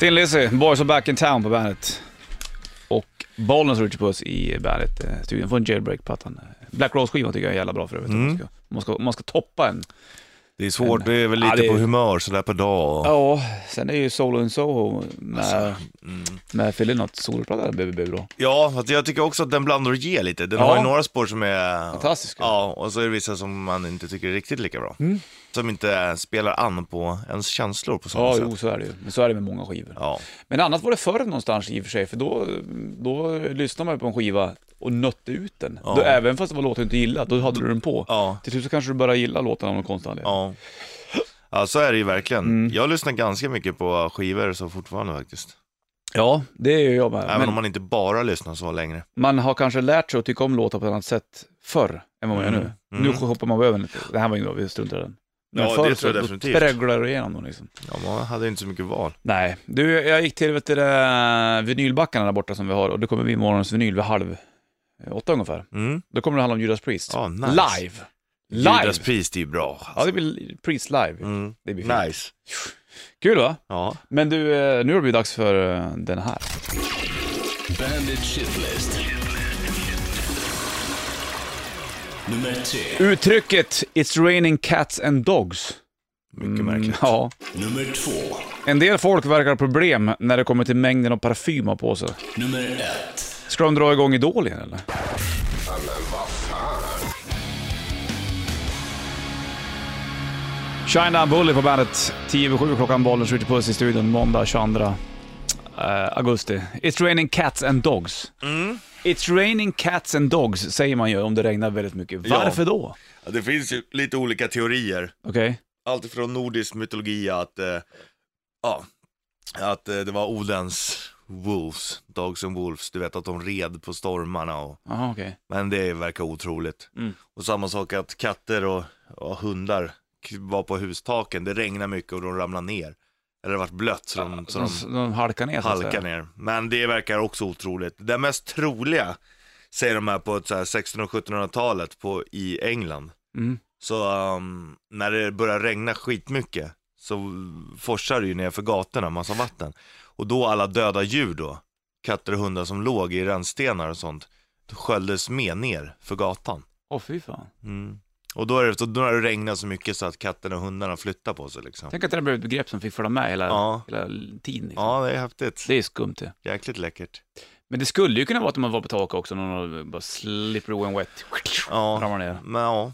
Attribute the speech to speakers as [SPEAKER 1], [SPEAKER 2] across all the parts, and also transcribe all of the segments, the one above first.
[SPEAKER 1] Tin Lizzy, Boys Are Back In Town på bandet. Och Bollnäs Richie Puss i eh, bandet-studion. Från Jailbreak-plattan. eh, Black Rose-skivan tycker jag är jävla bra för övrigt.
[SPEAKER 2] Mm.
[SPEAKER 1] om Man, ska, om man, ska, om man ska toppa en.
[SPEAKER 2] Det är svårt, det är väl
[SPEAKER 1] Ja,
[SPEAKER 2] lite
[SPEAKER 1] det-
[SPEAKER 2] på humör sådär per dag. och-
[SPEAKER 1] Ja, sen är ju Solo in Soho med,
[SPEAKER 2] Alltså, mm.
[SPEAKER 1] med Philly Not soloplatta BBB bra.
[SPEAKER 2] Ja, fast jag tycker också att den blandar och ger lite. Den
[SPEAKER 1] Ja.
[SPEAKER 2] har ju några spår som är...
[SPEAKER 1] Fantastiska. Mm.
[SPEAKER 2] Ja, och så är det vissa som man inte tycker är riktigt lika bra. Som inte spelar an på ens känslor på samma
[SPEAKER 1] Ja,
[SPEAKER 2] sätt.
[SPEAKER 1] jo, så är det ju. Men så är det med många skivor.
[SPEAKER 2] Ja.
[SPEAKER 1] Men annat var det förr någonstans i och för sig, för då, då lyssnade man på en skiva och nötte ut den.
[SPEAKER 2] Ja.
[SPEAKER 1] Då, även fast det var låtar du inte gillade, då hade du den på.
[SPEAKER 2] Ja.
[SPEAKER 1] Till slut så kanske du började gilla låtarna av någon konstig anledning.
[SPEAKER 2] Ja. ja, så är det ju verkligen.
[SPEAKER 1] Mm.
[SPEAKER 2] Jag lyssnar ganska mycket på skivor så fortfarande faktiskt.
[SPEAKER 1] Ja, det är ju jag med.
[SPEAKER 2] Även
[SPEAKER 1] Men
[SPEAKER 2] om
[SPEAKER 1] man...
[SPEAKER 2] man inte bara lyssnar så längre.
[SPEAKER 1] har kanske lärt sig att tycka om låtar på ett annat sätt förr än vad man gör nu. Nu hoppar man över den lite. Det här var ju bra, vi struntar i den. Men
[SPEAKER 2] Mm. Ja, det
[SPEAKER 1] förr
[SPEAKER 2] tror
[SPEAKER 1] så-
[SPEAKER 2] jag
[SPEAKER 1] då
[SPEAKER 2] definitivt.
[SPEAKER 1] träglar du igenom dem liksom.
[SPEAKER 2] Ja, man hade inte så mycket val.
[SPEAKER 1] Nej, du, jag gick till vet du, det, vinylbackarna där borta som vi har och då kommer vi morgonens vinyl vid halv eh, åtta ungefär.
[SPEAKER 2] Mm.
[SPEAKER 1] Då kommer det handla om Judas Priest.
[SPEAKER 2] Ja, nice.
[SPEAKER 1] Live! Live!
[SPEAKER 2] Judas Priest är ju bra. alltså.
[SPEAKER 1] Ja, det blir Priest live.
[SPEAKER 2] Mm.
[SPEAKER 1] Det blir fint.
[SPEAKER 2] Nice.
[SPEAKER 1] Kul va?
[SPEAKER 2] Ja.
[SPEAKER 1] Men du, eh, nu har det blivit dags för eh, den här.
[SPEAKER 3] Bandit Shitlist. Nummer tre.
[SPEAKER 1] Uttrycket “It's raining cats and dogs”.
[SPEAKER 2] Mycket
[SPEAKER 1] Mm,
[SPEAKER 2] märkligt.
[SPEAKER 1] Ja.
[SPEAKER 3] Nummer två.
[SPEAKER 1] En del folk verkar ha problem när det kommer till mängden av parfym man har på sig.
[SPEAKER 3] Nummer ett.
[SPEAKER 1] Ska de dra igång Idol igen eller? China Bully på bandet. 10 över 7 klockan, bollen skjuter puss i studion måndag 22 eh, augusti. It's raining cats and dogs.
[SPEAKER 2] Mm.
[SPEAKER 1] It's raining cats and dogs säger man ju om det regnar väldigt mycket.
[SPEAKER 2] Ja.
[SPEAKER 1] Varför då?
[SPEAKER 2] Ja, Det finns ju lite olika teorier.
[SPEAKER 1] Okej?
[SPEAKER 2] allt från nordisk mytologi att, eh, ja, att eh, det var Odens Wolves, Dogs and Wolves, du vet att de red på stormarna och,
[SPEAKER 1] Jaha, okej.
[SPEAKER 2] men det verkar otroligt.
[SPEAKER 1] Mm.
[SPEAKER 2] Och samma sak att katter och, och hundar k- var på hustaken, det regnar mycket och de ramlar ner. Eller det varit blött så de, så
[SPEAKER 1] De,
[SPEAKER 2] de
[SPEAKER 1] de halkar ner så att
[SPEAKER 2] halkar
[SPEAKER 1] säga.
[SPEAKER 2] ner. Men det verkar också otroligt. Det mest troliga säger de här på ett så här 1600 och 1700-talet på, i England.
[SPEAKER 1] Mm.
[SPEAKER 2] Så ehm, när det börjar regna skitmycket så forsar det ju ner för gatorna massa vatten. Och då alla döda djur då, katter och hundar som låg i rännstenar och sånt, då sköljdes med ner för gatan.
[SPEAKER 1] Åh fy fan.
[SPEAKER 2] Mm. Och då, är det, så då har det regnat så mycket så att katterna och hundarna flyttar på sig liksom.
[SPEAKER 1] Tänk att det där blev ett begrepp som fick följa med hela,
[SPEAKER 2] Ja.
[SPEAKER 1] hela tiden. Liksom.
[SPEAKER 2] Ja, det är häftigt.
[SPEAKER 1] Det är skumt det.
[SPEAKER 2] Jäkligt läckert.
[SPEAKER 1] Men det skulle ju kunna vara att man var på taket också, någon bara slippery and wet,
[SPEAKER 2] Ja,
[SPEAKER 1] ramlar ner.
[SPEAKER 2] men, ja.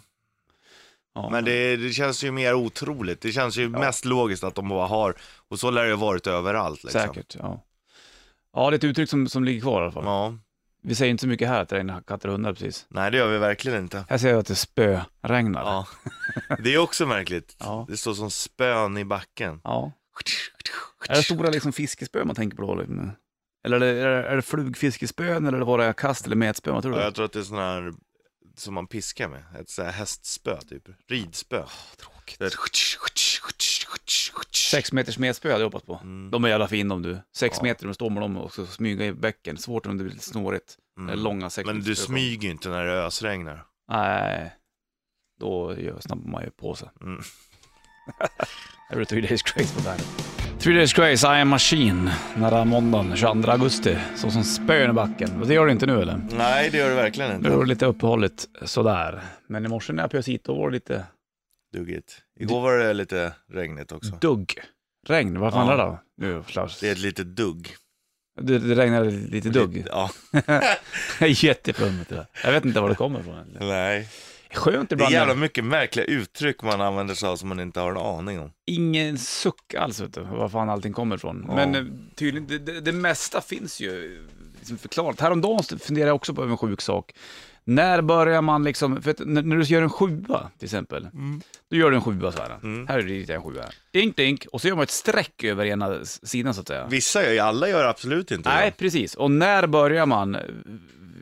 [SPEAKER 1] Ja.
[SPEAKER 2] men det, det känns ju mer otroligt. Det känns ju mest logiskt att de bara har, och så lär det ju ha varit överallt liksom.
[SPEAKER 1] Säkert, ja. Ja, det är ett uttryck som, som ligger kvar i alla fall.
[SPEAKER 2] Ja,
[SPEAKER 1] Vi säger inte så mycket här att det regnar katter och hundar precis.
[SPEAKER 2] nej det gör vi verkligen inte.
[SPEAKER 1] Här säger jag att det spöregnar.
[SPEAKER 2] Ja, det är också märkligt.
[SPEAKER 1] Ja.
[SPEAKER 2] Det står som spön i backen.
[SPEAKER 1] ja. Är det stora liksom fiskespön man tänker på då? Liksom? Eller är det, är det- är det flugfiskespön eller är det bara kast eller metspön? Vad tror
[SPEAKER 2] Ja,
[SPEAKER 1] du?
[SPEAKER 2] jag tror att det är sån här som man piskar med. Ett så här hästspö typ. Ridspö.
[SPEAKER 1] tråkigt.
[SPEAKER 2] Det är-
[SPEAKER 1] Sex meters metspö hade jag hoppats på.
[SPEAKER 2] Mm.
[SPEAKER 1] De är jävla fina om du. Sex meter, de står med dem och så smyga i bäcken. Svårt om det blir lite snårigt. Det är Långa sex
[SPEAKER 2] mm. Men du
[SPEAKER 1] metersspön.
[SPEAKER 2] smyger ju inte när det ösregnar.
[SPEAKER 1] Nej, då gör- snappar man ju på sig.
[SPEAKER 2] Mm.
[SPEAKER 1] Här blir Three Days Grace på bandet. Three Days Grace, I am Machine, nära måndagen 22 augusti. Så som spön i backen. Och Det gör det inte nu eller?
[SPEAKER 2] Nej, det gör det verkligen
[SPEAKER 1] Nu
[SPEAKER 2] inte.
[SPEAKER 1] har det lite uppehållet sådär. Men i morse när jag pös hit, då var det lite
[SPEAKER 2] Duggigt. Igår var det lite regnigt också.
[SPEAKER 1] dugg. Regn, vad fan
[SPEAKER 2] Ja.
[SPEAKER 1] är det då? Nu, Klaus.
[SPEAKER 2] Det är ett litet dugg.
[SPEAKER 1] det, det regnade lite dugg.
[SPEAKER 2] Ja,
[SPEAKER 1] Jätteflummigt det där. Jag vet inte var det kommer ifrån. egentligen.
[SPEAKER 2] nej.
[SPEAKER 1] Skönt
[SPEAKER 2] Det är
[SPEAKER 1] ibland.
[SPEAKER 2] jävla
[SPEAKER 1] när
[SPEAKER 2] mycket märkliga uttryck man använder sig av som man inte har en aning om.
[SPEAKER 1] Ingen suck alls vet du, var fan allting kommer ifrån.
[SPEAKER 2] Ja.
[SPEAKER 1] Men eh, tydligen, det, det, det mesta finns ju eh, liksom förklarat. Häromdagen så funderade jag också på en sjuk sak. När börjar man liksom, för att när, när du gör en sjua till exempel,
[SPEAKER 2] Mm.
[SPEAKER 1] då gör du en sjua så här. Här är det en sjua. Dink, dink, och så gör man ett streck över ena s- sidan så att säga.
[SPEAKER 2] Vissa gör ju, alla gör absolut inte
[SPEAKER 1] Nej,
[SPEAKER 2] det.
[SPEAKER 1] precis. Och när börjar man eh,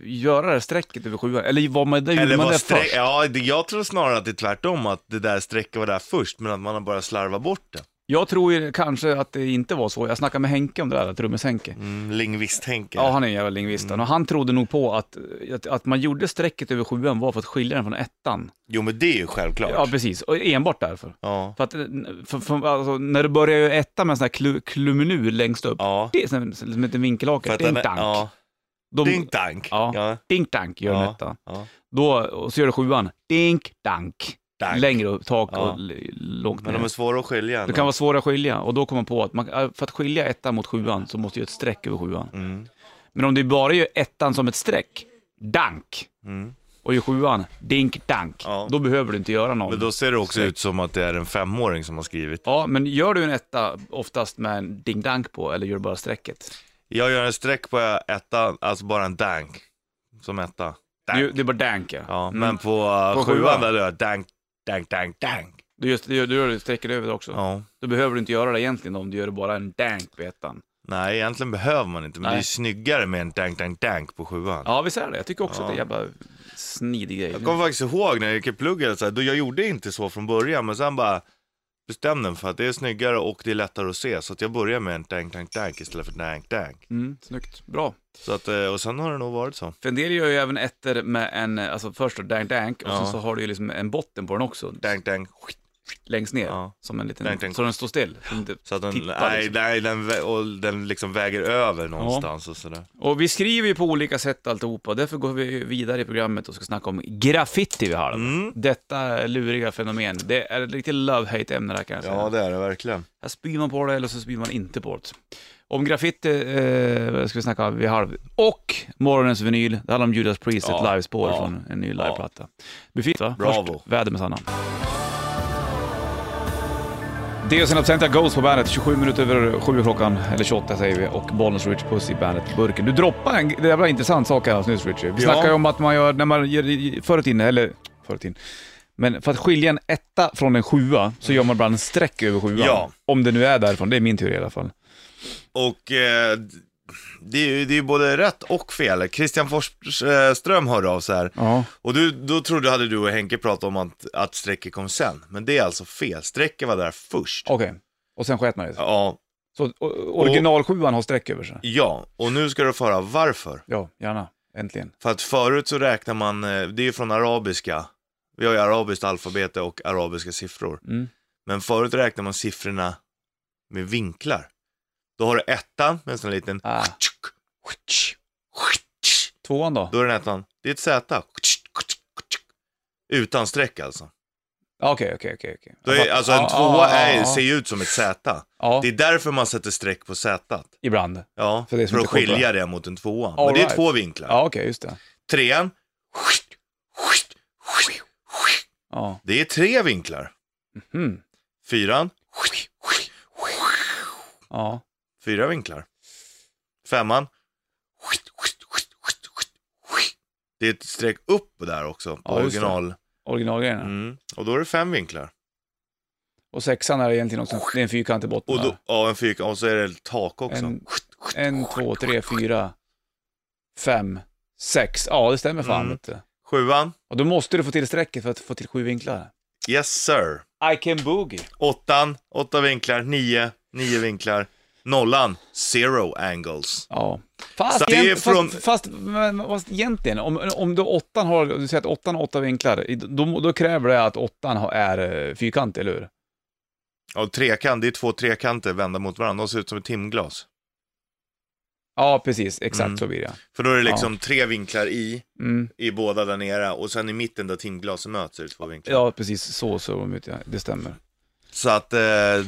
[SPEAKER 1] göra det strecket över sjuan? Eller var man, där gjorde
[SPEAKER 2] Eller
[SPEAKER 1] man
[SPEAKER 2] var
[SPEAKER 1] det
[SPEAKER 2] streck,
[SPEAKER 1] först?
[SPEAKER 2] ja, det- jag tror snarare att det är tvärtom, att det där strecket var där först, men att man har börjat slarva bort det.
[SPEAKER 1] Jag tror ju kanske att det inte var så. Jag snackade med Henke om det där, trummis-Henke.
[SPEAKER 2] Mm, Lingvist-Henke.
[SPEAKER 1] Ja, han är en jävla lingvist.
[SPEAKER 2] Mm.
[SPEAKER 1] han. Och han trodde nog på att, att, att man gjorde strecket över sjuan var för att skilja den från ettan.
[SPEAKER 2] Jo, men det är ju självklart.
[SPEAKER 1] Ja, precis. Och enbart därför.
[SPEAKER 2] ja.
[SPEAKER 1] För att eh, för, för, alltså, när du börjar ju etta med en sån här klu, kluminur längst upp,
[SPEAKER 2] Ja.
[SPEAKER 1] det är som, som ett
[SPEAKER 2] För
[SPEAKER 1] vinkelhake,
[SPEAKER 2] att den är-
[SPEAKER 1] dink-dank.
[SPEAKER 2] Ja.
[SPEAKER 1] De-
[SPEAKER 2] Dink-dank.
[SPEAKER 1] Ja.
[SPEAKER 2] Ja.
[SPEAKER 1] Dink-dank gör den
[SPEAKER 2] Ja.
[SPEAKER 1] etta.
[SPEAKER 2] Ja.
[SPEAKER 1] Då, och så gör du sjuan, dink-dank.
[SPEAKER 2] Dank.
[SPEAKER 1] Längre upp, tak
[SPEAKER 2] Ja.
[SPEAKER 1] och l- långt
[SPEAKER 2] Men
[SPEAKER 1] ner.
[SPEAKER 2] de är svåra att skilja.
[SPEAKER 1] Det
[SPEAKER 2] ändå.
[SPEAKER 1] kan vara svårt att skilja och då kommer man på att man, äh, för att skilja ettan mot sjuan så måste ju ett streck över sjuan.
[SPEAKER 2] Mm.
[SPEAKER 1] Men om du bara gör ettan som ett streck, dank,
[SPEAKER 2] Mm.
[SPEAKER 1] och gör sjuan, dink dank,
[SPEAKER 2] Ja.
[SPEAKER 1] då behöver du inte göra någon.
[SPEAKER 2] Men då ser det också ut som att det är en femåring som har skrivit.
[SPEAKER 1] Ja, men gör du en etta oftast med en ding dank på eller gör du bara strecket?
[SPEAKER 2] Jag gör en streck på ettan, alltså bara en dank. Som etta. Dank.
[SPEAKER 1] Du, det är bara dank ja.
[SPEAKER 2] Ja,
[SPEAKER 1] Mm.
[SPEAKER 2] men på, uh,
[SPEAKER 1] På
[SPEAKER 2] sjuan
[SPEAKER 1] sjuan.
[SPEAKER 2] där du gör dank, dank, dank, dank.
[SPEAKER 1] Du, just, du, gör- du gör det strecket över det också.
[SPEAKER 2] Ja.
[SPEAKER 1] Då behöver du inte göra det egentligen om du gör bara en dank på ettan.
[SPEAKER 2] Nej, egentligen behöver man inte, men
[SPEAKER 1] Nej.
[SPEAKER 2] det är snyggare med en dank, dank, dank på sjuan.
[SPEAKER 1] Ja, vi säger det. Jag tycker också att det är en jävla snidig grej.
[SPEAKER 2] Jag kommer faktiskt ihåg när jag gick i plugget, så här, då jag gjorde inte så från början, men sen bara bestämde mig för att det är snyggare och det är lättare att se, så att jag börjar med en dank, dank, dank istället för dank, dank.
[SPEAKER 1] Mm, snyggt. Bra.
[SPEAKER 2] Så att, eh, och sen har det nog varit så.
[SPEAKER 1] För en del gör ju även ettor med en, alltså först då dank dank och
[SPEAKER 2] Ja.
[SPEAKER 1] sen så har du ju liksom en botten på den också.
[SPEAKER 2] Dank, dank, skit.
[SPEAKER 1] Längst ner.
[SPEAKER 2] Ja.
[SPEAKER 1] Som en liten,
[SPEAKER 2] Dank, dank.
[SPEAKER 1] så den står still. Så den inte
[SPEAKER 2] Så att den,
[SPEAKER 1] tippar,
[SPEAKER 2] nej,
[SPEAKER 1] liksom.
[SPEAKER 2] nej, den, vä- och den liksom väger över någonstans och sådär.
[SPEAKER 1] Och vi skriver ju på olika sätt alltihopa, därför går vi vidare i programmet och ska snacka om graffiti vid halv.
[SPEAKER 2] Mm.
[SPEAKER 1] Detta luriga fenomen, det är lite love-hate-ämne där kan jag säga.
[SPEAKER 2] Ja, det är det verkligen.
[SPEAKER 1] Här spyr man på det eller så spyr man inte på det. Om graffiti eh, ska vi snacka vid halv. Och morgonens vinyl, det handlar om Judas Priest,
[SPEAKER 2] Ja,
[SPEAKER 1] ett livespår
[SPEAKER 2] ja,
[SPEAKER 1] från en ny liveplatta. Det blir fint va?
[SPEAKER 2] Bravo.
[SPEAKER 1] Först, väder med Sanna. Deus in absentia Ghost på bandet, 27 minuter över 7 klockan, eller 28 säger vi, och Bollnäs Rich Puss i bandet-burken. Du droppade en det jävla intressant sak här alldeles nyss Richie. Vi
[SPEAKER 2] Ja.
[SPEAKER 1] snackade ju om att man gör, när man gör, förut inne, eller förut in, men för att skilja en etta från en sjua så gör man ibland en streck över sjuan.
[SPEAKER 2] Ja.
[SPEAKER 1] Om det nu är därifrån, det är min teori i alla fall.
[SPEAKER 2] Och eh, det är ju det är ju både rätt och fel. Christian Forsström hörde av sig här.
[SPEAKER 1] Ja.
[SPEAKER 2] Och du, då trodde, hade du och Henke pratat om att, att strecket kom sen. Men det är alltså fel. Strecket var där först.
[SPEAKER 1] Okej, och sen sket man i det.
[SPEAKER 2] Ja,
[SPEAKER 1] Så o- originalsjuan har streck över sig?
[SPEAKER 2] ja, och nu ska du få höra varför.
[SPEAKER 1] Ja, gärna. Äntligen.
[SPEAKER 2] För att förut så räknar man, eh, det är ju från arabiska. Vi har ju arabiskt alfabete och arabiska siffror.
[SPEAKER 1] Mm.
[SPEAKER 2] Men förut räknar man siffrorna med vinklar. Då har du ettan med en sån liten...
[SPEAKER 1] Ah. Tvåan då?
[SPEAKER 2] Då är den ettan. Det är ett Z. Utan streck alltså.
[SPEAKER 1] Ja, Okej, okej, okej. okej.
[SPEAKER 2] Då är, alltså
[SPEAKER 1] Ah,
[SPEAKER 2] en tvåa är, ser ju ut som ett Z.
[SPEAKER 1] Ja,
[SPEAKER 2] Det är därför man sätter streck på Z.
[SPEAKER 1] ibland.
[SPEAKER 2] Ja,
[SPEAKER 1] För det är
[SPEAKER 2] för
[SPEAKER 1] som
[SPEAKER 2] att
[SPEAKER 1] inte kopplar.
[SPEAKER 2] skilja det mot en tvåa.
[SPEAKER 1] All
[SPEAKER 2] Men det är
[SPEAKER 1] right.
[SPEAKER 2] två vinklar.
[SPEAKER 1] Ja, okej, just det.
[SPEAKER 2] Trean,
[SPEAKER 1] Ja.
[SPEAKER 2] det är tre vinklar.
[SPEAKER 1] Mm.
[SPEAKER 2] Fyran,
[SPEAKER 1] Ja.
[SPEAKER 2] fyra vinklar. Femman, det är ett streck upp där också på
[SPEAKER 1] Ja, just det.
[SPEAKER 2] original.
[SPEAKER 1] Originalgrejerna.
[SPEAKER 2] Mm. Och då är det fem vinklar.
[SPEAKER 1] Och sexan är egentligen också, det är en fyrkantig botten.
[SPEAKER 2] Och, då,
[SPEAKER 1] va?
[SPEAKER 2] ja, en fyrkant, och så är det tak också.
[SPEAKER 1] En, en, två, tre, fyra, fem, sex. Ja, det stämmer fan.
[SPEAKER 2] Mm.
[SPEAKER 1] Vet du.
[SPEAKER 2] Sjuan,
[SPEAKER 1] Och då måste du få till strecket för att få till sju vinklar.
[SPEAKER 2] yes sir.
[SPEAKER 1] I can boogie.
[SPEAKER 2] Åttan, åtta vinklar. Nio, nio vinklar. Nollan, zero angles.
[SPEAKER 1] Ja. Fast,
[SPEAKER 2] Så det är
[SPEAKER 1] egent,
[SPEAKER 2] från-
[SPEAKER 1] fast, fast, men- fast egentligen, om, om du, åttan har, du säger att åttan har åtta vinklar, i- då, då kräver det att åttan har, är eh, fyrkantig, eller hur?
[SPEAKER 2] Ja, och trekant, det är två trekanter vända mot varandra. De ser ut som ett timglas.
[SPEAKER 1] Ja, precis. Exakt
[SPEAKER 2] Mm.
[SPEAKER 1] så blir det.
[SPEAKER 2] För då är det liksom tre vinklar i,
[SPEAKER 1] Mm.
[SPEAKER 2] i båda där nere och sen i mitten där timglasen möts är det två vinklar.
[SPEAKER 1] Ja, precis. Så såg de ut, ja. Det stämmer.
[SPEAKER 2] Så att eh,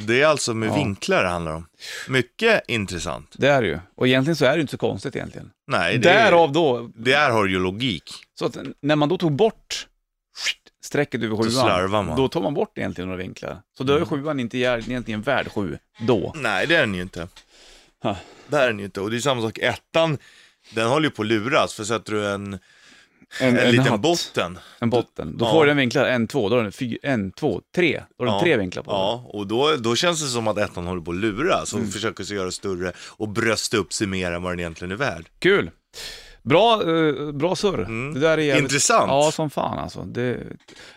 [SPEAKER 2] det är alltså med
[SPEAKER 1] Ja.
[SPEAKER 2] vinklar det handlar om. Mycket intressant.
[SPEAKER 1] Det är det ju. Och egentligen så är det ju inte så konstigt egentligen.
[SPEAKER 2] Nej, det, är,
[SPEAKER 1] Därav då,
[SPEAKER 2] det här har ju logik.
[SPEAKER 1] Så att när man då tog bort strecket över
[SPEAKER 2] slarvar man. Mm.
[SPEAKER 1] sjuan, då tar man bort egentligen några vinklar. Så då är sjuan inte gär- egentligen värd sju då.
[SPEAKER 2] Nej, det är den ju inte.
[SPEAKER 1] Ha.
[SPEAKER 2] Det är den ju inte. Och det är samma sak, ettan, den håller ju på att luras. För sätter du en, en, liten
[SPEAKER 1] hatt,
[SPEAKER 2] botten.
[SPEAKER 1] En botten. Då
[SPEAKER 2] Ja.
[SPEAKER 1] får den vinklar en, två, då har den fy, en, två, tre. Då har den
[SPEAKER 2] Ja.
[SPEAKER 1] tre vinklar på den.
[SPEAKER 2] Ja, och då, då känns det som att ettan håller på att Mm. luras och försöker sig göra större och brösta upp sig mer än vad den egentligen är värd.
[SPEAKER 1] Kul! Bra, eh, bra surr.
[SPEAKER 2] Mm.
[SPEAKER 1] Det där är jävligt...
[SPEAKER 2] Intressant.
[SPEAKER 1] Ja, som fan alltså. Det...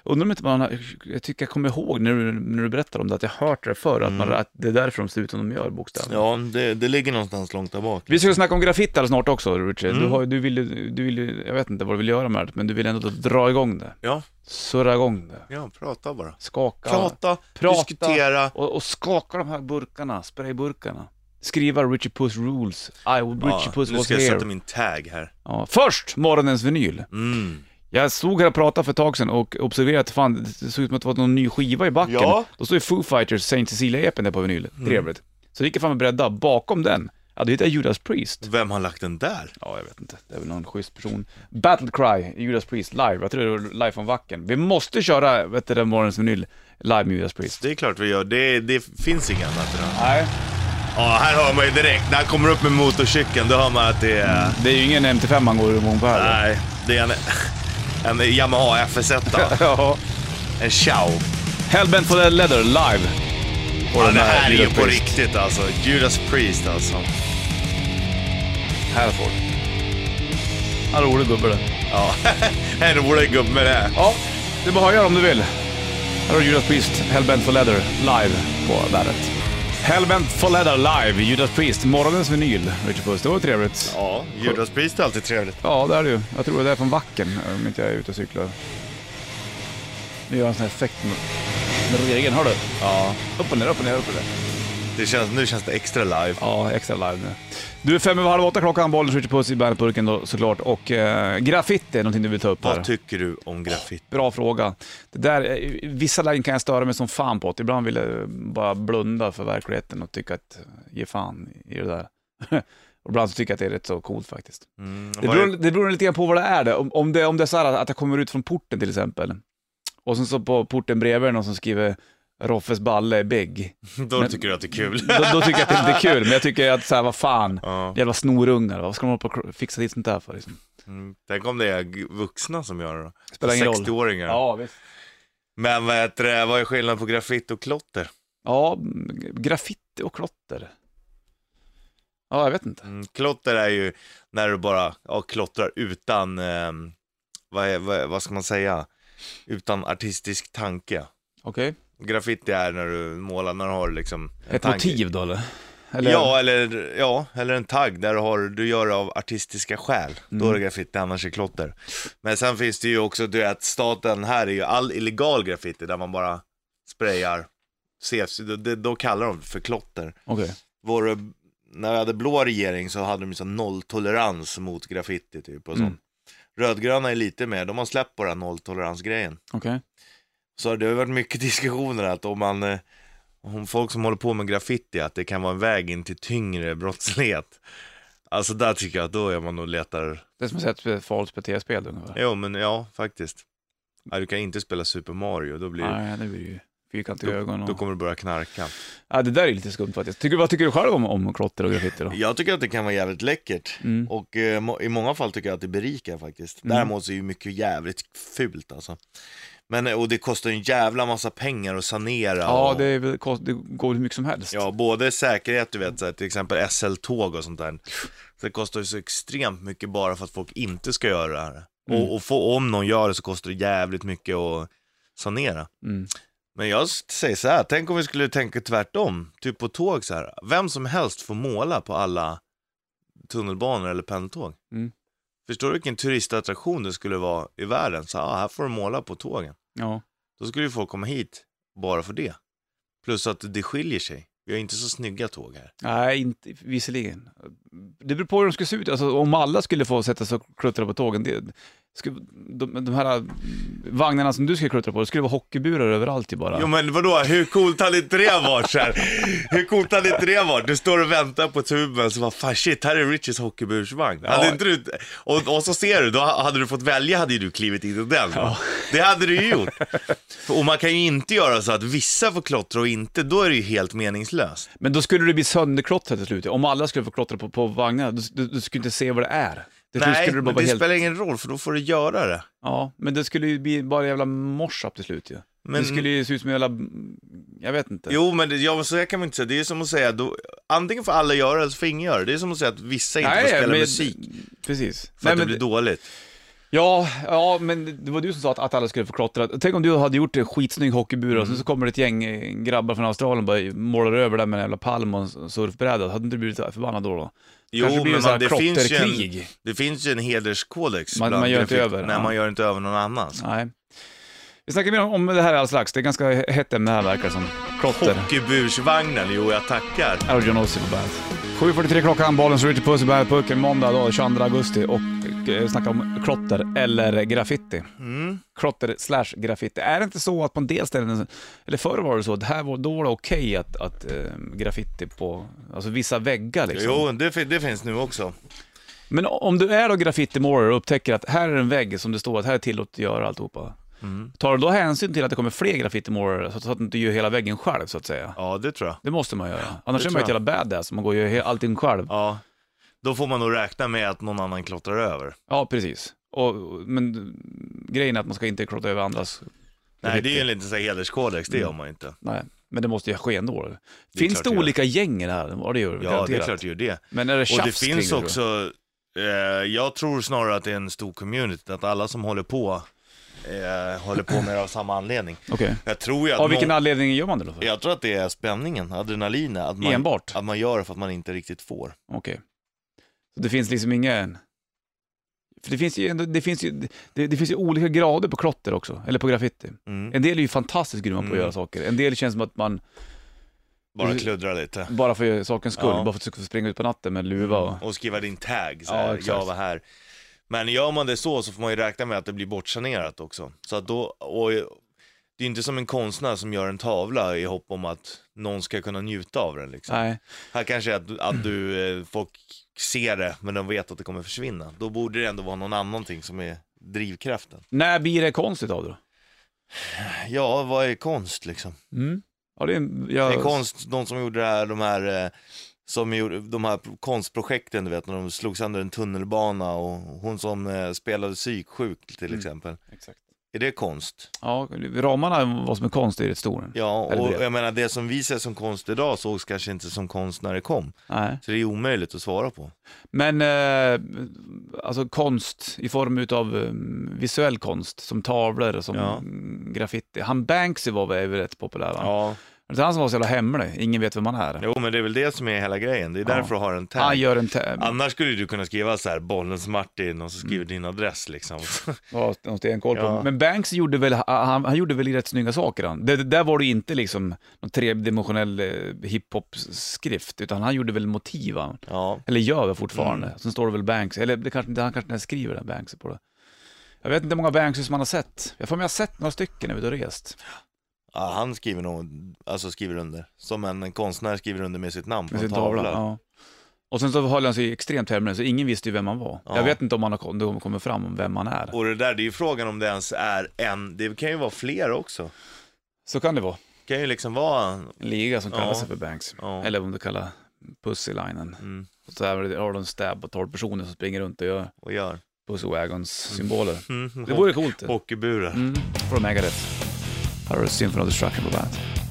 [SPEAKER 1] Undrar om inte man har... Jag tycker jag kommer ihåg när du, när du berättar om det, att jag hört det förr, att, man, att det är därför de ser ut som de gör bokstavligen.
[SPEAKER 2] Mm. Ja, det, det ligger någonstans långt där bak.
[SPEAKER 1] Vi ska snacka om graffiti alldeles snart också, Richard.
[SPEAKER 2] Mm.
[SPEAKER 1] Du, har, ju- du vill ju- du vill ju- jag vet inte vad du vill göra med det, men du vill ändå dra igång det.
[SPEAKER 2] Ja,
[SPEAKER 1] Surra igång det.
[SPEAKER 2] ja prata bara.
[SPEAKER 1] Skaka.
[SPEAKER 2] Prata,
[SPEAKER 1] Prata.
[SPEAKER 2] diskutera.
[SPEAKER 1] Och, och skaka de här burkarna, sprayburkarna. Skriva Richie Puss Rules, I, Richie Puss
[SPEAKER 2] nu
[SPEAKER 1] was
[SPEAKER 2] ska jag
[SPEAKER 1] here.
[SPEAKER 2] sätta min tag här.
[SPEAKER 1] Ja. Först, morgonens vinyl.
[SPEAKER 2] Mm.
[SPEAKER 1] Jag stod här och pratade för ett tag sedan och observerade att fan, det såg ut som att det var någon ny skiva i backen.
[SPEAKER 2] Ja. Mm.
[SPEAKER 1] Då stod ju Foo Fighters Saint Cecilia-epen där på vinyl. Trevligt. Så gick jag fram och bredda. Bakom den, ja då hittade jag Judas Priest.
[SPEAKER 2] Vem har lagt den där?
[SPEAKER 1] Ja, jag vet inte. Det är väl någon schysst person. Battle Cry, Judas Priest live. Jag tror det var live från Wacken. Vi måste köra, vet du, den morgonens vinyl live med Judas Priest.
[SPEAKER 2] Det är klart vi gör. Det, det finns inget annat idag.
[SPEAKER 1] Nej.
[SPEAKER 2] Ja, här hör man ju direkt. När han kommer upp med motorcykeln, då hör man att det är...
[SPEAKER 1] Det är ju ingen MT5 man går igång på här.
[SPEAKER 2] Nej, det är en, en Yamaha FZ.
[SPEAKER 1] Ja.
[SPEAKER 2] En Chow.
[SPEAKER 1] Hellbent for the Leather live. Och
[SPEAKER 2] Ja,
[SPEAKER 1] den
[SPEAKER 2] det här är ju
[SPEAKER 1] Judas
[SPEAKER 2] på
[SPEAKER 1] Priest.
[SPEAKER 2] riktigt alltså. Judas Priest alltså.
[SPEAKER 1] Här får du. Ja, rolig gubbe det.
[SPEAKER 2] Ja, en rolig gubbe det. är.
[SPEAKER 1] Ja, det bara höja om du vill. Här har du Judas Priest, Hellbent for Leather, live på bandet. Hellbent for Leather live, Judas Priest, morgonens vinyl, Richard Puss. Det var trevligt. Ja.
[SPEAKER 2] Ja, Judas Priest är alltid trevligt.
[SPEAKER 1] det är det ju. Jag tror det är från Wacken, om inte jag är ute och cyklar. Nu gör jag en sån här effekt med, med regeln, hör du? Ja. Upp och ner, upp och ner, upp och ner.
[SPEAKER 2] Det känns, nu känns det extra live.
[SPEAKER 1] Ja, extra live nu. Du, är fem över halv åtta klockan, bollen skjuter puss i bandetburken då såklart. Och eh, graffiti är någonting du vill ta upp här.
[SPEAKER 2] Vad tycker du om graffiti?
[SPEAKER 1] Bra fråga. Det där, eh, vissa lägen kan jag störa mig som fan på. att Ibland vill jag bara blunda för verkligheten och tycka att eh, ge fan i det där. och ibland så tycker jag att det är rätt så coolt faktiskt.
[SPEAKER 2] Mm,
[SPEAKER 1] Det
[SPEAKER 2] vad är-
[SPEAKER 1] beror, det beror lite grann på vad det är. Det. Om, om det. om det är så här att jag kommer ut från porten till exempel och sen så på porten bredvid är det någon som skriver Roffes balle är big.
[SPEAKER 2] Då tycker du att det är kul.
[SPEAKER 1] Då, då tycker jag att det är lite kul, men jag tycker att så här, vad fan,
[SPEAKER 2] Ja.
[SPEAKER 1] jävla snorungar, vad ska de hålla på och fixa dit sånt där för liksom?
[SPEAKER 2] Mm. Tänk om det är g- vuxna som gör det då.
[SPEAKER 1] Spelar ingen roll.
[SPEAKER 2] 60-åringar.
[SPEAKER 1] Ja, visst.
[SPEAKER 2] Men vad, heter det, vad är skillnaden på graffiti och klotter?
[SPEAKER 1] Ja, mm, graffiti och klotter. Ja, jag vet inte.
[SPEAKER 2] Mm, klotter är ju när du bara ja, klottrar utan, ehm, vad, är, vad, vad ska man säga, utan artistisk tanke.
[SPEAKER 1] Okej.
[SPEAKER 2] Graffiti är när du målar, när du har liksom en
[SPEAKER 1] Ett
[SPEAKER 2] tanke.
[SPEAKER 1] motiv då eller? eller?
[SPEAKER 2] Ja, eller, ja, eller en tagg där du, har, du gör det av artistiska skäl.
[SPEAKER 1] Mm.
[SPEAKER 2] Då är det graffiti, annars är det klotter. Men sen finns det ju också, du vet, staten här är ju all illegal graffiti där man bara sprayar CFC, då, det- då kallar de för klotter.
[SPEAKER 1] Okej.
[SPEAKER 2] Vår, när vi hade blå regering så hade de ju sån nolltolerans mot graffiti typ och sånt.
[SPEAKER 1] Mm.
[SPEAKER 2] Rödgröna är lite mer, de har släppt på den här nolltoleransgrejen.
[SPEAKER 1] Okej.
[SPEAKER 2] Så det har ju varit mycket diskussioner att om man, eh, om folk som håller på med graffiti, att det kan vara en väg in till tyngre brottslighet. Alltså där tycker jag att då är man och letar,
[SPEAKER 1] Det är som att säga ett farligt beteende-spel ungefär.
[SPEAKER 2] jo men ja faktiskt. Nej, du kan inte spela Super Mario, då, blir,
[SPEAKER 1] Nej, det blir ju fyrkantiga ögon
[SPEAKER 2] då,
[SPEAKER 1] och...
[SPEAKER 2] då kommer du börja knarka.
[SPEAKER 1] Ja, det där är lite skumt faktiskt. Tycker, vad tycker du själv om, om klotter och graffiti då?
[SPEAKER 2] Jag tycker att det kan vara jävligt läckert.
[SPEAKER 1] Mm.
[SPEAKER 2] Och eh, må- i många fall tycker jag att det berikar faktiskt.
[SPEAKER 1] Mm.
[SPEAKER 2] Däremot så är ju mycket jävligt fult alltså. Men, eh, och det kostar ju en jävla massa pengar att sanera.
[SPEAKER 1] Ja,
[SPEAKER 2] och,
[SPEAKER 1] det, är, väl kost- det går hur mycket som helst.
[SPEAKER 2] ja både säkerhet, du vet, så här, till exempel SL-tåg och sånt där. Så det kostar ju så extremt mycket bara för att folk inte ska göra det här.
[SPEAKER 1] Mm.
[SPEAKER 2] Och, och få, om någon gör det så kostar det jävligt mycket att sanera.
[SPEAKER 1] Mm.
[SPEAKER 2] Men jag s- säger så här, tänk om vi skulle tänka tvärtom. Typ på tåg så här. Vem som helst får måla på alla tunnelbanor eller pendeltåg.
[SPEAKER 1] Mm.
[SPEAKER 2] Förstår du vilken turistattraktion det skulle vara i världen? Så här, ah, här får du måla på tågen.
[SPEAKER 1] Ja.
[SPEAKER 2] Då skulle ju folk komma hit bara för det. Plus att det skiljer sig. Vi har inte så snygga tåg här.
[SPEAKER 1] Nej, inte, visserligen. Det beror på hur de skulle se ut. Alltså, om alla skulle få sätta sig och kluttra på tågen, det, skulle, de, de här mm, vagnarna som du skulle kluttra på, det skulle vara hockeyburar överallt ju bara.
[SPEAKER 2] Jo men vadå, hur coolt hade inte det varit så här? Hur coolt hade inte det varit? Du står och väntar på tuben så bara, fan shit, här är Richies hockeybursvagn. Hade
[SPEAKER 1] Ja.
[SPEAKER 2] inte du, och, och så ser du, då hade du fått välja hade ju du klivit in i den. va? Det hade du ju gjort. Och man kan ju inte göra så att vissa får klottra och inte, då är det ju helt meningslöst.
[SPEAKER 1] Men då skulle det bli sönderklottrat till slut. Om alla skulle få klottra på, på vagnarna, du, du, du skulle inte se vad det är. Det skulle-
[SPEAKER 2] Nej,
[SPEAKER 1] skulle
[SPEAKER 2] men
[SPEAKER 1] bara
[SPEAKER 2] det
[SPEAKER 1] vara helt...
[SPEAKER 2] spelar ingen roll för då får du göra det.
[SPEAKER 1] Ja, men det skulle ju bli bara jävla morsapp till slut ju.
[SPEAKER 2] Men-
[SPEAKER 1] Det skulle ju se ut som en jävla... Jag vet inte.
[SPEAKER 2] Jo men det, ja, men så här kan man inte säga, det är som att säga, då, antingen får alla göra det eller så får ingen göra det. Det är som att säga att vissa inte får spela
[SPEAKER 1] men-
[SPEAKER 2] musik.
[SPEAKER 1] precis.
[SPEAKER 2] För att det blir dåligt.
[SPEAKER 1] Ja, ja, men det var du som sa att, att alla skulle få klottra. Tänk om du hade gjort en skitsnygg hockeybur och
[SPEAKER 2] Mm.
[SPEAKER 1] sen så kommer det ett gäng eh, grabbar från Australien och bara målar över där med en jävla palm och en surfbräda. Hade inte du blivit förbannad då? då?
[SPEAKER 2] Jo,
[SPEAKER 1] Kanske blir
[SPEAKER 2] men
[SPEAKER 1] så här
[SPEAKER 2] man, det, finns ju en,
[SPEAKER 1] klotterkrig.
[SPEAKER 2] det finns ju en hederskodex.
[SPEAKER 1] Man-
[SPEAKER 2] bland
[SPEAKER 1] man gör inte
[SPEAKER 2] grafik-
[SPEAKER 1] över,
[SPEAKER 2] Nej,
[SPEAKER 1] ja.
[SPEAKER 2] man gör inte över någon annans.
[SPEAKER 1] Nej. Vi snackar mer om det här alldeles strax. Det är ganska hett ämne här verkar det som. Klotter.
[SPEAKER 2] Hockeybursvagnen, jo jag tackar.
[SPEAKER 1] Arjun Ozzy på bandet. 7.43 klockan, bollen så Richard Puss i Bandet Pucken måndag då, 22 augusti och eh, snacka om klotter eller graffiti.
[SPEAKER 2] Mm.
[SPEAKER 1] Klotter slash graffiti. Är det inte så att på en del ställen, eller förr var det så, att här var, då var det okej att, att eh, graffiti på alltså vissa väggar liksom.
[SPEAKER 2] Jo, det, fin- det finns nu också.
[SPEAKER 1] Men om du är då graffiti-målare och upptäcker att här är en vägg som det står att här är tillåtet att göra alltihopa.
[SPEAKER 2] Mm.
[SPEAKER 1] Tar du då hänsyn till att det kommer fler graffiti-målare så, så att du inte gör hela väggen själv så att säga?
[SPEAKER 2] Ja, det tror jag.
[SPEAKER 1] Det måste man göra. Annars
[SPEAKER 2] det
[SPEAKER 1] är man ju ett
[SPEAKER 2] tror
[SPEAKER 1] jävla badass om man går och gör he- allting själv.
[SPEAKER 2] Ja. Då får man nog räkna med att någon annan klottrar över.
[SPEAKER 1] Ja, precis. Och, men mm, grejen är att man ska inte klotta över andras.
[SPEAKER 2] Nej, det är ju en
[SPEAKER 1] graffiti.
[SPEAKER 2] liten så här hederskodex,
[SPEAKER 1] Mm.
[SPEAKER 2] det gör man ju inte.
[SPEAKER 1] Nej, men det måste ju ske ändå.
[SPEAKER 2] är
[SPEAKER 1] Finns
[SPEAKER 2] klart
[SPEAKER 1] det
[SPEAKER 2] det gör.
[SPEAKER 1] olika gäng i det här? Ja, det gör det
[SPEAKER 2] Ja, det är
[SPEAKER 1] garanterat.
[SPEAKER 2] klart det gör det.
[SPEAKER 1] Men är det tjafs
[SPEAKER 2] Och det finns
[SPEAKER 1] kring det, tror
[SPEAKER 2] också, eh, jag tror snarare att det är en stor community, att alla som håller på, eh, håller på med det av samma anledning.
[SPEAKER 1] du? Okej.
[SPEAKER 2] Jag tror ju att
[SPEAKER 1] Av vilken
[SPEAKER 2] någon,
[SPEAKER 1] anledning gör man det då? för?
[SPEAKER 2] jag tror att det är spänningen, adrenalinet, att man,
[SPEAKER 1] Enbart?
[SPEAKER 2] att man gör det för att man inte riktigt får.
[SPEAKER 1] Okej. Så det finns liksom ingen... För det finns ju, ändå, det finns ju, det, det finns ju olika grader på klotter också, eller på graffiti.
[SPEAKER 2] Mm.
[SPEAKER 1] En del är ju fantastiskt grymma på att
[SPEAKER 2] Mm.
[SPEAKER 1] göra saker. En del känns som att man
[SPEAKER 2] Bara kluddra lite.
[SPEAKER 1] bara för sakens skull,
[SPEAKER 2] Ja. Mm.
[SPEAKER 1] bara för att du ska få springa ut på natten med luva och...
[SPEAKER 2] Och skriva din tag, så
[SPEAKER 1] Ja,
[SPEAKER 2] här,
[SPEAKER 1] exakt.
[SPEAKER 2] jag var här. Men gör man det så, så får man ju räkna med att det blir bortsanerat också. Så att då, och det är inte som en konstnär som gör en tavla i hopp om att någon ska kunna njuta av den liksom.
[SPEAKER 1] Nej.
[SPEAKER 2] Här kanske är att, att du, eh, folk ser det, men de vet att det kommer försvinna. Då borde det ändå vara någon annan ting som är drivkraften.
[SPEAKER 1] När blir det konstigt av det då?
[SPEAKER 2] Ja, vad är konst liksom?
[SPEAKER 1] Mm. Ja, det är, en- jag,
[SPEAKER 2] Det är konst, de som gjorde det här, de här, eh, som gjorde, de här konstprojekten du vet, när de slog sönder en tunnelbana och hon som eh, spelade psyksjuk
[SPEAKER 1] Mm.
[SPEAKER 2] till exempel.
[SPEAKER 1] Exakt.
[SPEAKER 2] Är det konst?
[SPEAKER 1] Ja, ramarna vad som är konst är rätt stor.
[SPEAKER 2] Ja,
[SPEAKER 1] Eller
[SPEAKER 2] och
[SPEAKER 1] brev.
[SPEAKER 2] jag menar det som vi ser som konst idag sågs kanske inte som konst när det kom.
[SPEAKER 1] Nej.
[SPEAKER 2] Så det är omöjligt att svara på.
[SPEAKER 1] Men eh, alltså konst i form utav eh, visuell konst, som tavlor, som
[SPEAKER 2] Ja.
[SPEAKER 1] mm, graffiti. Han Banksy var väl rätt populär va?
[SPEAKER 2] Ja.
[SPEAKER 1] Det är han som var så jävla hemlig, ingen vet vem han är.
[SPEAKER 2] Jo, men det är väl det som är hela grejen. Det är
[SPEAKER 1] Ja.
[SPEAKER 2] därför du har en tag.
[SPEAKER 1] Han gör en tä-
[SPEAKER 2] Annars skulle du kunna skriva så här, Bollens Martin, och så skriver din adress liksom.
[SPEAKER 1] ja, någon stenkoll på.
[SPEAKER 2] Ja.
[SPEAKER 1] Men Banks gjorde väl, han, han gjorde väl rätt snygga saker han. Det, det där var det ju inte liksom någon tredimensionell eh, hiphop-skrift, utan han gjorde väl motiv va?
[SPEAKER 2] Ja.
[SPEAKER 1] Eller gör det fortfarande.
[SPEAKER 2] Mm.
[SPEAKER 1] Sen står det väl Banks, eller det kanske, inte- han kanske inte ens skriver det, Banksy på det. Jag vet inte hur många Banksy som man har sett. Jag får mig har sett några stycken när vi har rest.
[SPEAKER 2] ja, han skriver nog, alltså skriver under. Som en konstnär skriver under med sitt namn på
[SPEAKER 1] Med
[SPEAKER 2] en
[SPEAKER 1] sin
[SPEAKER 2] tavla.
[SPEAKER 1] tavla. Ja. Och sen så höll han sig extremt hemlig, så ingen visste ju vem han var.
[SPEAKER 2] Ja.
[SPEAKER 1] Jag vet inte om han har om det kommer fram om vem han är.
[SPEAKER 2] Och det där, det är ju frågan om det ens är en, det kan ju vara fler också.
[SPEAKER 1] Så kan det vara.
[SPEAKER 2] Det kan ju liksom vara,
[SPEAKER 1] En liga som kallar
[SPEAKER 2] Ja.
[SPEAKER 1] sig för Banks.
[SPEAKER 2] ja.
[SPEAKER 1] Eller om du kallar Pussylinen.
[SPEAKER 2] Mm,
[SPEAKER 1] Och så här har du en stab på 12 personer som springer runt och gör
[SPEAKER 2] och gör.
[SPEAKER 1] Pussy Wagons-symboler.
[SPEAKER 2] Mm.
[SPEAKER 1] Det vore coolt. det.
[SPEAKER 2] Hockeyburar.
[SPEAKER 1] Mm, får de äga det. Här har du Symphony of Destruction på bandet.